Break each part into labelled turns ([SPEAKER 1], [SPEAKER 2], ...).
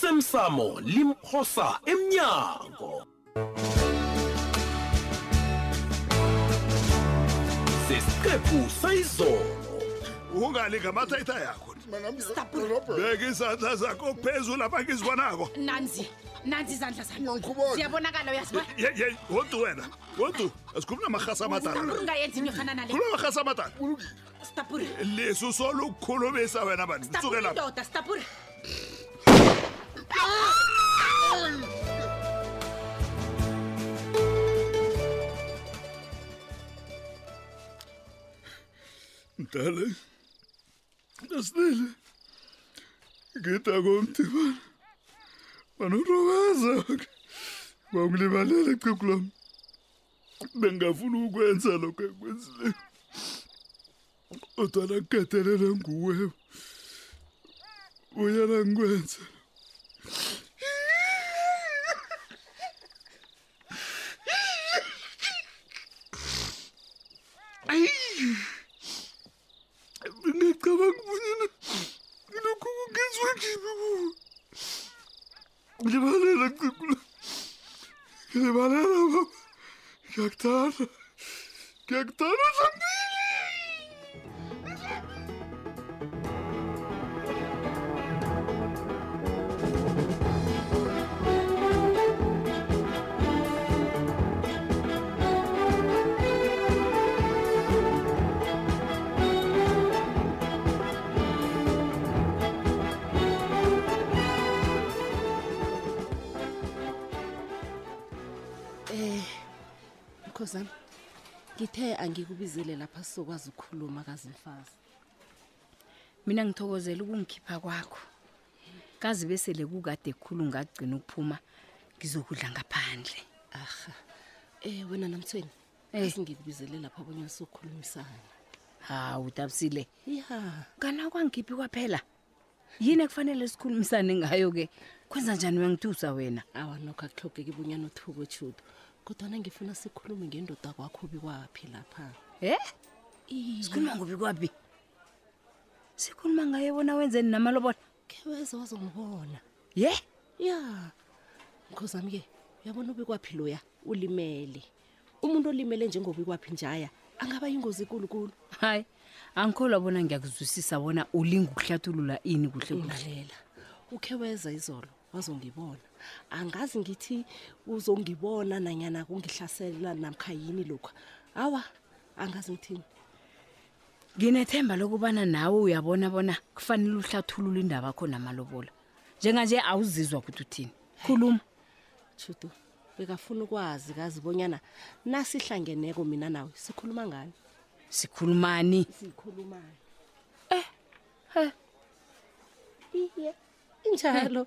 [SPEAKER 1] osemsamo limphosa emnyango sesiqephu sayizolo
[SPEAKER 2] ungalingamatha itha yakho beka izandla zakho phezulu apha ngizibonako
[SPEAKER 3] nanzi nanzi izandla zami
[SPEAKER 4] Ngiqhubona.
[SPEAKER 3] ziyabonakala uyaziba
[SPEAKER 2] Ye- ye, godu wena godu asikhulumi namarhasi
[SPEAKER 3] stapur
[SPEAKER 2] amadala
[SPEAKER 3] ungayenzi into efana nale
[SPEAKER 2] khuluma amarhasi amadala
[SPEAKER 3] stapur
[SPEAKER 2] lisu solukukhulumisa wena bani
[SPEAKER 3] stapur
[SPEAKER 2] sukela
[SPEAKER 3] indoda stapur
[SPEAKER 2] mdala asilile ngidakomdibana banotokaza bangilibalele echegu lami bengingafuni ukukwenza lokho engikwenzileyo odwana ngikatelele nguwe uyana ngikwenze ngingacabanga bonyana lokhu kungenziwa kimi kuwe ngilibalela cicula ngilibalela baba ngiyakuthanda ngiyakuthanda zambili
[SPEAKER 5] mkhosana ngithe angikubizile lapha sizokwazi ukukhuluma kazimfazi
[SPEAKER 6] mina ngithokozela ukungikhipha kwakho kazi besele kukade khulu ngagcina ukuphuma ngizokudla ngaphandle
[SPEAKER 5] arha um wena namthweni
[SPEAKER 6] Eh.
[SPEAKER 5] asingikubizele lapha abanye sokukhulumisana
[SPEAKER 6] hawu tabisile
[SPEAKER 5] ya
[SPEAKER 6] kana kwangikhiphi kwaphela yini ekufanele sikhulumisane ngayo-ke kwenza njani uyangitusa wena
[SPEAKER 5] awa nokho akuhlogeki bunyana uthuko judo kodwana ngifuna sikhulume ngendoda kwakho bikwaphi lapha
[SPEAKER 6] e sikhuluma ngobi kwabi sikhuluma ngaye bona wenzeni namalobola
[SPEAKER 5] kheweze wazongibona
[SPEAKER 6] ye
[SPEAKER 5] ya mkhozami-ke uyabona ubikwaphi loya ulimele umuntu olimele njengobikwaphi njaya angaba yingozi ekulukulu
[SPEAKER 6] hayi angikholwa bona ngiyakuzwisisa bona ulinga ukuhlathulula ini kuhle kuhle
[SPEAKER 5] lalela ukhe weza izolo wazongibona angazi ngithi uzongibona nanyana kungihlasela namkha yini lokhu awa angazi ngithini
[SPEAKER 6] nginethemba lokubana nawe uyabona bona kufanele uhlathulule indaba yakho namalobola njenganje awuzizwa ukuthi uthini khuluma
[SPEAKER 5] judu bekafuna ukwazi kazi bonyana nasihlangeneko mina nawe sikhuluma ngani
[SPEAKER 6] sikhulumani
[SPEAKER 5] siyikhulumayo
[SPEAKER 6] Eh, he.
[SPEAKER 5] iye injalo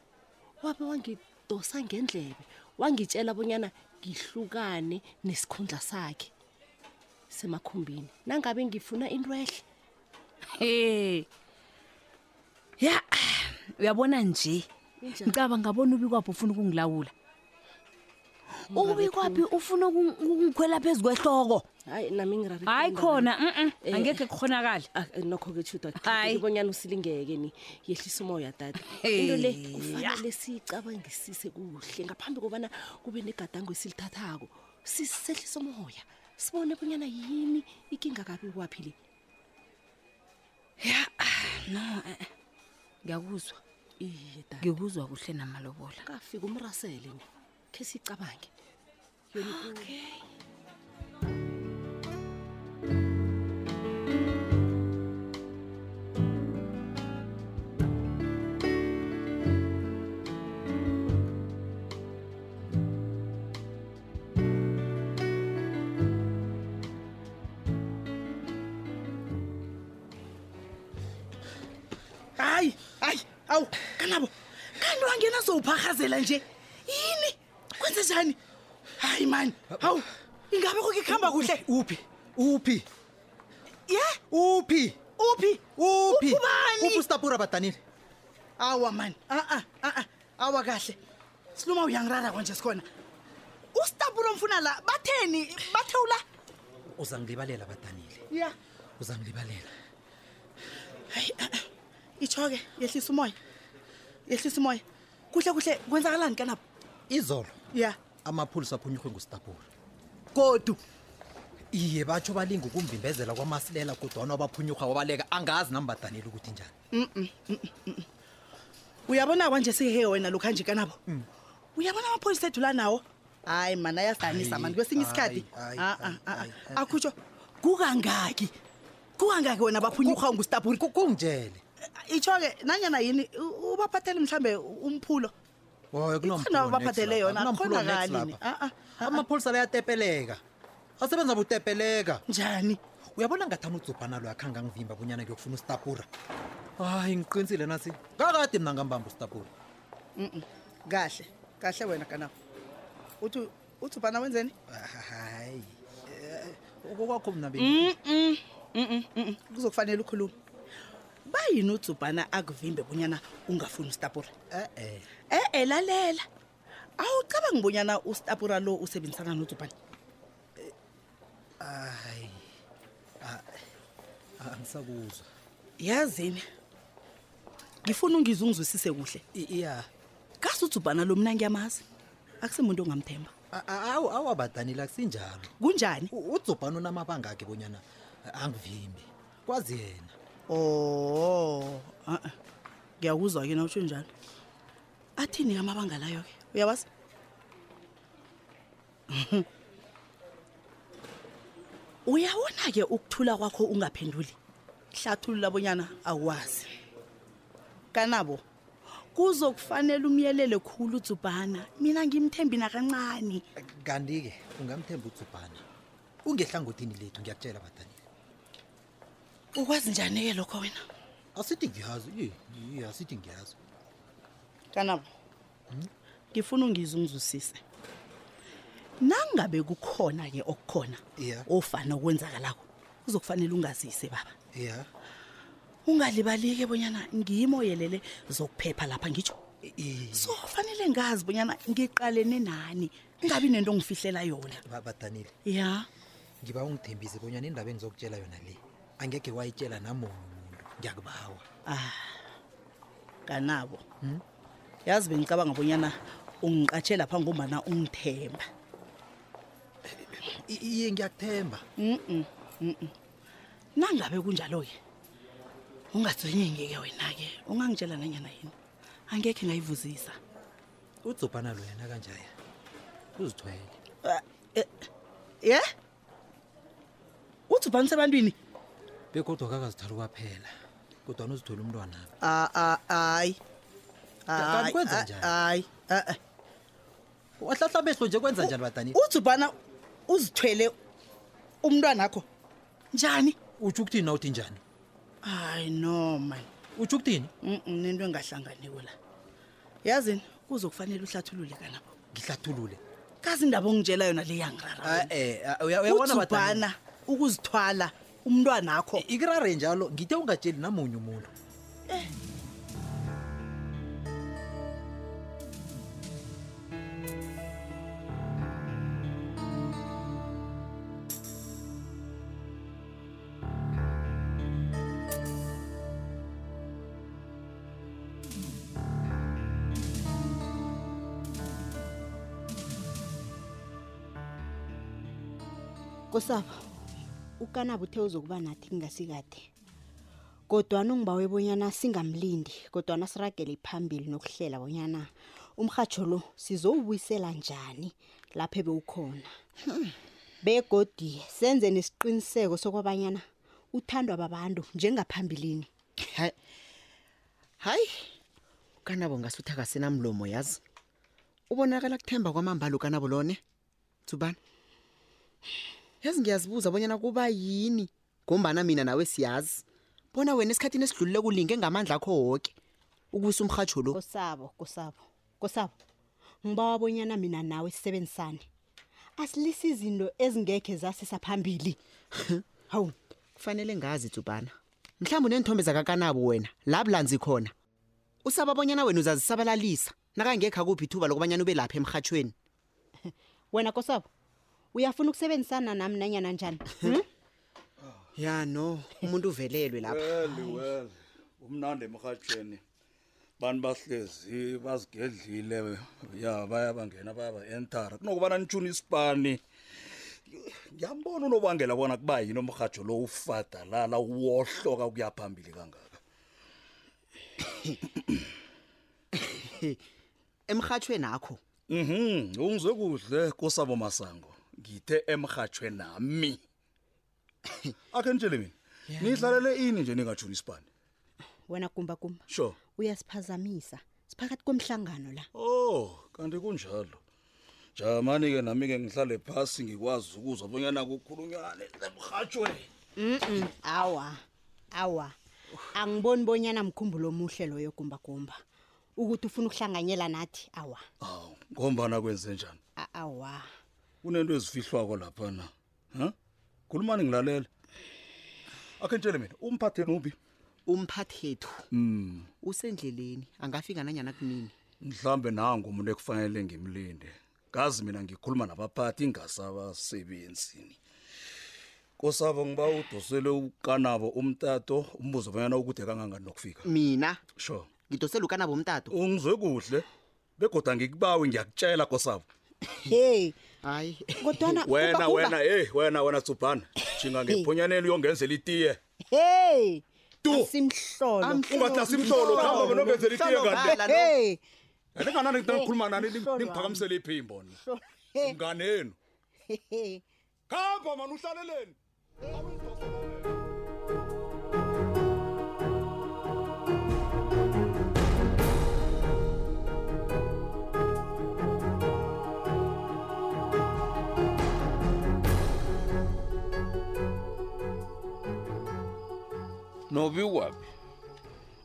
[SPEAKER 5] wabe wangidosa ngendlebe wangitshela bonyana ngihlukane nesikhundla sakhe semakhumbini nangabe ngifuna into ehle
[SPEAKER 6] he ya uyabona nje
[SPEAKER 5] Injani?
[SPEAKER 6] ngicaba ngabona ubi kwaphi ufuna ukungilawula ubi kwaphi ufuna ukung- ukungikhwela phezu kwehloko
[SPEAKER 5] hayi nami ngirare
[SPEAKER 6] hayi khona mm
[SPEAKER 5] Eh.
[SPEAKER 6] angekhe kukhonakale
[SPEAKER 5] Ah, nokho-ke chuda
[SPEAKER 6] Hayi.
[SPEAKER 5] ibonyana usilingeke ni yehlisa umoya dada into le kufanele siyicabangisise kuhle ngaphambi kobana kube negadango esilithathako sisehlisa umoya sibone bonyana yini ikinga kabi kwaphi le
[SPEAKER 6] eh, ngiyakuzwa
[SPEAKER 5] iye dada
[SPEAKER 6] ngikuzwa kuhle namalobola
[SPEAKER 5] kafika umrasele ni khe siyicabange
[SPEAKER 7] hayi hayi awu kanabo kanti wangena sowuphahazela nje yini kwenze njani hayi mani hawu ingabe kukuhamba kuhle
[SPEAKER 8] uphi uphi
[SPEAKER 7] ye
[SPEAKER 8] uphi
[SPEAKER 7] uphi
[SPEAKER 8] uphi
[SPEAKER 7] Ubani?
[SPEAKER 8] uphi ustapura badanile
[SPEAKER 7] awa mani aa aa awa kahle siluma uyangirara kwanje sikhona usitapulo mfuna la batheni bathewula
[SPEAKER 8] uzangilibalela badanile
[SPEAKER 7] ya
[SPEAKER 8] uzangilibalela
[SPEAKER 5] eh,
[SPEAKER 7] hayi itsho-ke yehlisa umoya
[SPEAKER 5] yehlisa umoya kuhle kuhle kwenzakalani kanabo
[SPEAKER 9] izolo
[SPEAKER 5] ya
[SPEAKER 9] amapholisa aphunyurhwe ngusitapura
[SPEAKER 5] godu
[SPEAKER 9] iye batsho balinga ukumvimbezela kwamasilela kodwana wabaphunyurha wabaleka angazi nami badanile ukuthi njani
[SPEAKER 5] uyabona kwanje sihehe wena lokhu anje kanabo uyabona amapholisa ethu la nawo hayi mani ayasanisa
[SPEAKER 9] Ayi,
[SPEAKER 5] mani kwesinye
[SPEAKER 9] ayi,
[SPEAKER 5] isikhathi
[SPEAKER 9] ayi,
[SPEAKER 5] Ah, ah,
[SPEAKER 9] ayi,
[SPEAKER 5] ah, ah.
[SPEAKER 9] ayi, ayi.
[SPEAKER 5] akhutsho kukangaki kukangaki wena baphunyurha ngustaburi
[SPEAKER 9] Ku- kungitshele
[SPEAKER 5] itsho-ke nanyana yini u- ubaphathele mhlawumbe umphulo
[SPEAKER 9] Woy, kunompholo
[SPEAKER 5] Ikhona ababhadele
[SPEAKER 9] next
[SPEAKER 5] yona,
[SPEAKER 9] lapha. Kunompholo
[SPEAKER 5] akhona
[SPEAKER 9] next
[SPEAKER 5] kani ni?
[SPEAKER 9] lapha.
[SPEAKER 5] Ah, ah, ah, ah.
[SPEAKER 9] amapholisa la yatepeleka asebenza butepeleka
[SPEAKER 5] njani
[SPEAKER 9] uyabona ngathani udzubhana lo akhanga ngivimba kunyana kuyokufuna usitapura hayi ngiqinisile nasi kakade mna ngambamba usitapura
[SPEAKER 5] kahle kahle wena kanabo uthi uthi ubhana wenzeni
[SPEAKER 9] hayi Eh, okokwakho mna be
[SPEAKER 5] Mm. Mm-mm, mm-mm, kuzokufanele ukhulume bayini udzubhana akuvimbe bonyana ungafuni ustapura
[SPEAKER 9] e-e
[SPEAKER 5] e-e lalela awucabanga bonyana ustapura lo usebenzisana nodzubhana
[SPEAKER 9] hayi angisakuzwa
[SPEAKER 5] yazini ngifuna ungize ungizwisise kuhle
[SPEAKER 9] iya
[SPEAKER 5] kasi udzubhana lo mna ngiyamazi akusimuntu ongamthemba
[SPEAKER 9] awu awu abadanile akusinjalo
[SPEAKER 5] kunjani
[SPEAKER 9] U- udzubhana unamabanga akhe bonyana eh, angivimbi kwazi yena
[SPEAKER 5] o a-a Oh, ngiyakuzwa ke na utsho njalo athini ke amabanga layo ke uyabazi uyawona ke ukuthula kwakho ungaphenduli hlathulula bonyana awazi kanabo kuzokufanele umyelele khulu udzubhana mina ngimthembi nakancane
[SPEAKER 9] kanti-ke ungamthemba udzubhana ungehlangothini lethu ngiyakutshela badanile
[SPEAKER 5] ukwazi njani-ke lokho wena
[SPEAKER 9] asithi ngiyazi ye, ye asithi ngiyazi
[SPEAKER 5] kanabo ngifuna ungize ungizwisise nangabe kukhona-ke okukhona
[SPEAKER 9] Yeah.
[SPEAKER 5] ofana okwenzakalako kuzokufanele ungazise baba
[SPEAKER 9] ya
[SPEAKER 5] ungalibali-ke bonyana ngiyimoyelele zokuphepha lapha ngitsho
[SPEAKER 9] Iye.
[SPEAKER 5] so fanele ngazi bonyana ngiqalene nani ngabi nento ongifihlela yona
[SPEAKER 9] Ba- badanile
[SPEAKER 5] ya
[SPEAKER 9] ngiba ungithembise bonyana indaba engizokutshela yona le angekhe wayitshela namunye umuntu ngiyakubawa
[SPEAKER 5] ah kanabo yazi bengicabanga bonyana ungiqatshe lapha ngombana ungithemba
[SPEAKER 9] I- iye ngiyakuthemba
[SPEAKER 5] nangabe kunjalo-ke ungatswenyengeke wena-ke ungangitshela nanyana yini angekhe ngayivuzisa
[SPEAKER 9] udzubhana lo yena kanjaya uzithwele
[SPEAKER 5] Ah, eh, ye uthi ubhanise ebantwini
[SPEAKER 9] bekodwa kakazithwala kwaphela kodwana uzithwele umntwanami
[SPEAKER 5] Ah, hayi ah,
[SPEAKER 9] Kanti kwenza njani?
[SPEAKER 5] eh.
[SPEAKER 9] wahlahla amehlo nje kwenza njani badanile
[SPEAKER 5] uthi ubhana uzithwele umntwana akho njani
[SPEAKER 9] utsho ukuthini na uthi njani
[SPEAKER 5] hayi no man
[SPEAKER 9] utsho ukuthini
[SPEAKER 5] Mm, mm, nento engahlanganiko la yazini kuzokufanele uhlathulule kanabo
[SPEAKER 9] ngihlathulule
[SPEAKER 5] kazi indaba ongitshela yona leyangirara
[SPEAKER 9] e
[SPEAKER 5] uthubhana ukuzithwala umntwana akho
[SPEAKER 4] Eh,
[SPEAKER 9] ikurare njalo ngithe ungatsheli namunye umuntu
[SPEAKER 4] kosaba ukanabo uthe uzokuba nathi kungasikade kodwana ungibawe bonyana singamlindi kodwana siragele phambili nokuhlela bonyana umrhatsho lo sizowubuyisela njani lapho ebewukhona begodi senze nesiqiniseko sokobanyana uthandwa babantu njengaphambilini
[SPEAKER 10] hayi hayi ukanabo ngasuthi akasenamlomo yazi ubonakala kuthemba kwamambala ukanabo lone tsubana yazi ngiyazibuza bonyana kuba yini ngombana mina nawe siyazi bona wena esikhathini esidlulile kulinge ngamandla akho woke ukuwisa umrhatsho lo
[SPEAKER 4] kosabo kosabo kosabo ngibawa bonyana mina nawe sisebenzisane asilisi izinto ezingekhe zasisa phambili hawu
[SPEAKER 10] kufanele ngazi tsubana mhlawumbi uneenthombe zakakanabo wena la bulanzi khona usaba bonyana wena uzazisabalalisa nakangekho akuphi ithuba lokubanyana ube lapha emrhatshweni
[SPEAKER 4] wena kosabo uyafuna ukusebenzisana nami nanyana njani Hmm?
[SPEAKER 10] ya no umuntu uvelelwe lapha
[SPEAKER 2] Well, well. Umnandi emrhatshweni. bantu bahlezi bazigedlile ya baya bangena baya ba-entara kunokubana nitshuni isipani ngiyambona unobangela bona kuba yini umrhatsho lo ufadalala wohloka ukuya phambili kangaka
[SPEAKER 10] emrhatshweni akho
[SPEAKER 2] mhm ungizwe kuhle kusabo masango ngithe emrhatshwe nami akhe nitshele mina nidlalele ini nje ningatshuni isipani
[SPEAKER 4] wena gumba gumba
[SPEAKER 2] sure
[SPEAKER 4] uyasiphazamisa siphakathi komhlangano la
[SPEAKER 2] Oh, kanti kunjalo. Jamani ke nami ke ngihlale phansi ngikwazi ukuzwa bonyana kukhulunyane emrhatshweni.
[SPEAKER 4] mm awa awa angiboni bonyana mkhumbulo omuhle loyo gumbagumba ukuthi ufuna ukuhlanganyela nathi awa
[SPEAKER 2] Aw, ngombana kwenze njani?
[SPEAKER 4] a- awa
[SPEAKER 2] Kunento ezifihlwako lapha na. Ha? Khulumani ngilalela. Akhe ntshele mina, umphatheni uphi?
[SPEAKER 10] umphathethu
[SPEAKER 2] Mm,
[SPEAKER 10] usendleleni angafika nanyana kunini
[SPEAKER 2] mhlambe nangu umuntu ekufanele ngimlinde. Ngazi mina ngikhuluma nabaphathi ingasabasebenzini. Kosabo ngiba udosele ukanabo umtato umbuzo bonyana ukude kangangani nokufika.
[SPEAKER 10] mina
[SPEAKER 2] Sure.
[SPEAKER 10] ngidosela ukanabo umtato
[SPEAKER 2] ungizwe kuhle begoda ngikubawe ngiyakutshela kosabo
[SPEAKER 4] hey
[SPEAKER 10] hayi
[SPEAKER 4] kodwana
[SPEAKER 2] wena
[SPEAKER 4] Gumba Gumba,
[SPEAKER 2] wena hey wena wena tsubhana jinga ngephonyanyeni uyongenzela itiye
[SPEAKER 4] hey
[SPEAKER 2] Tu!
[SPEAKER 4] simhlolo
[SPEAKER 2] ungahlasi imhlolo khamba benongenzela itiye kanti
[SPEAKER 4] hey
[SPEAKER 2] elinganani ngikhuluma nani ning-
[SPEAKER 4] Mhlolo
[SPEAKER 2] ningiphakamisele iphimbo ni
[SPEAKER 4] Hey.
[SPEAKER 2] mnganenu
[SPEAKER 4] hey
[SPEAKER 2] khamba mani uhlaleleni
[SPEAKER 1] nobi waphi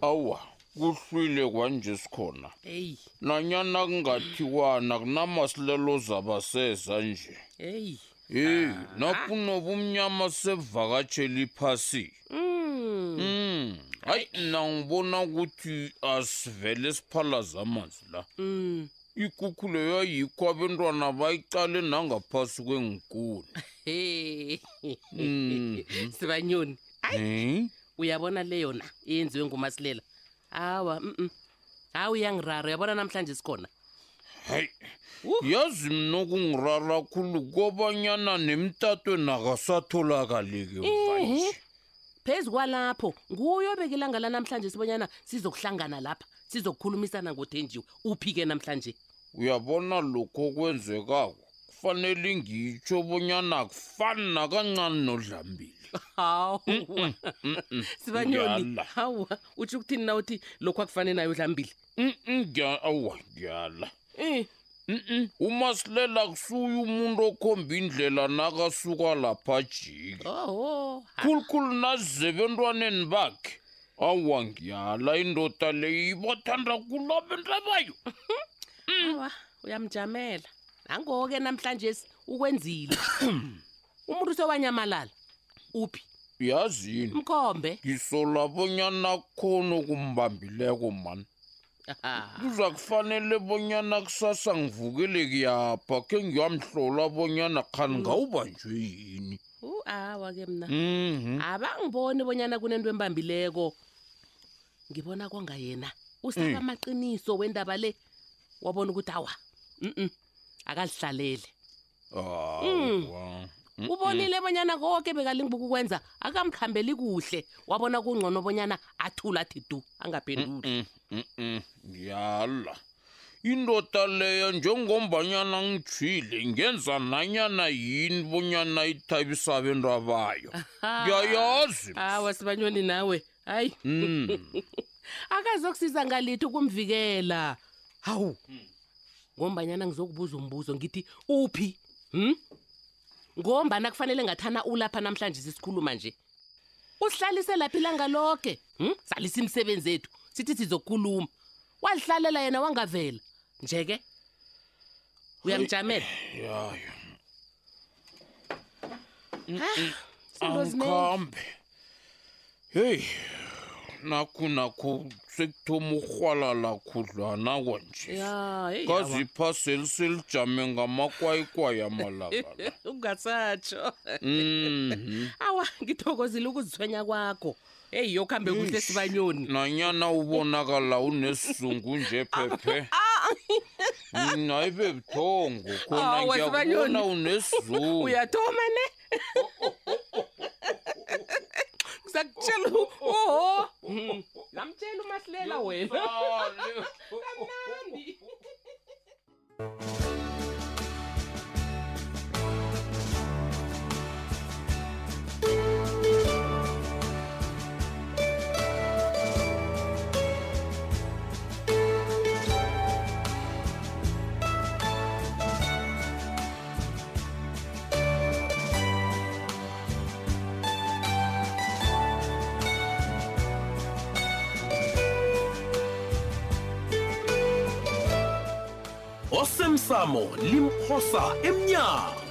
[SPEAKER 1] awa kuhlwile kwanje sikhona
[SPEAKER 3] heyi
[SPEAKER 1] nanyana kungathiwana kunamasilelo zabaseza nje
[SPEAKER 3] heyi
[SPEAKER 1] heyi nakunoba umnyama sevakatshela iphasi um hayi mna ngibona ukuthi asivele siphalaza amanzi la ikukhu leyo yikho abentwana bayicale nangaphasi kwengikuni Mhm.
[SPEAKER 3] sibanyoni
[SPEAKER 1] Eh?
[SPEAKER 3] uyabona le yona eyenziwe ngumasilela hawa mm hawu uyangirara uyabona namhlanje sikhona
[SPEAKER 1] hayi yazi mna okungirara khulu kobanyana nemtatweni akasatholakaleke mvanje
[SPEAKER 3] phezu kwalapho nguye obekilanga la namhlanje sibonyana sizokuhlangana lapha sizokukhulumisana ngothenjiwe uphi-ke namhlanje
[SPEAKER 1] uyabona lokho okwenzekako kufanele ngitsho bonyana akufani nakancane nodlambile
[SPEAKER 3] hawu sibanyoni
[SPEAKER 1] Ngiyala.
[SPEAKER 3] hawa utsho ukuthini na uthi lokhu akufane nayo udlambile
[SPEAKER 1] awa ngiyala Mm-mm. umasilela kusuye umuntu okhomba indlela nakasuka lapha jike
[SPEAKER 3] oho
[SPEAKER 1] khulukhulu nazize ebentwaneni bakhe awa ngiyala indoda leyi ibathanda kulo abantu abayo
[SPEAKER 3] awa uyamjamela nango-ke namhlanje ukwenzile umuntu usewanyamalala uphi
[SPEAKER 1] uyazi yini
[SPEAKER 3] mkhombe
[SPEAKER 1] ngisola bonyana khona okumbambileko mani kuza kufanele bonyana kusasa ngivukele kuyapha khe ngiyamhlola bonyana khani ngawubanjwe yini
[SPEAKER 3] u awa ke mna
[SPEAKER 1] Mhm.
[SPEAKER 3] abangiboni bonyana kunento embambileko ngibona kwanga yena usaba
[SPEAKER 1] Mm.
[SPEAKER 3] amaqiniso wendaba le wabona ukuthi awa mm akazihlalele
[SPEAKER 1] Awa. Mm-mm.
[SPEAKER 3] ubonile bonyana konke bekalinga ukukwenza akamkhambeli kuhle wabona kungcono bonyana athula athi du angaphenduli
[SPEAKER 1] Mm-mm. Mm-mm. yala mm-hmm, indoda leyo njengombanyana ngijhile ngenza nanyana yini bonyana ithabisa abantu abayo ngiyayazi
[SPEAKER 3] awa sibanyoni Ah, nawe hayi akazokusiza ngalithi ukumvikela hawu ngombanyana ngizokubuza umbuzo ngithi uphi hm ngombana kufanele ngathana ulapha namhlanje sisikhuluma nje uhlalise laphi ilanga lonke hm salisa imisebenzi ethu sithi sizokhuluma walihlalela yena wangavela nje-ke uyamjamela
[SPEAKER 1] yayo
[SPEAKER 3] Ah, izinto zinengi.
[SPEAKER 1] angikhambe heyi nakho nakho sekuthoma ukrwalala khudlwana kwanje
[SPEAKER 3] ya hey, awa.
[SPEAKER 1] kazi iphaseli selijame ngamakwayikway amalaka la
[SPEAKER 3] ungasatsho
[SPEAKER 1] Mhm.
[SPEAKER 3] awa ngithokozile ukuzithwenya kwakho eyi yokuhambe kuhle sibanyoni
[SPEAKER 2] nanyana ubonakala unesizungu nje phephe naye bebuthongo khona
[SPEAKER 3] Awa, Sibanyoni.
[SPEAKER 2] ngiyakubona unesizungu
[SPEAKER 3] uyathoma ne ngizakutshela u- oho Mm. ngamtshela umasilela wena kamnandi
[SPEAKER 1] osemsamo limphosa emnyango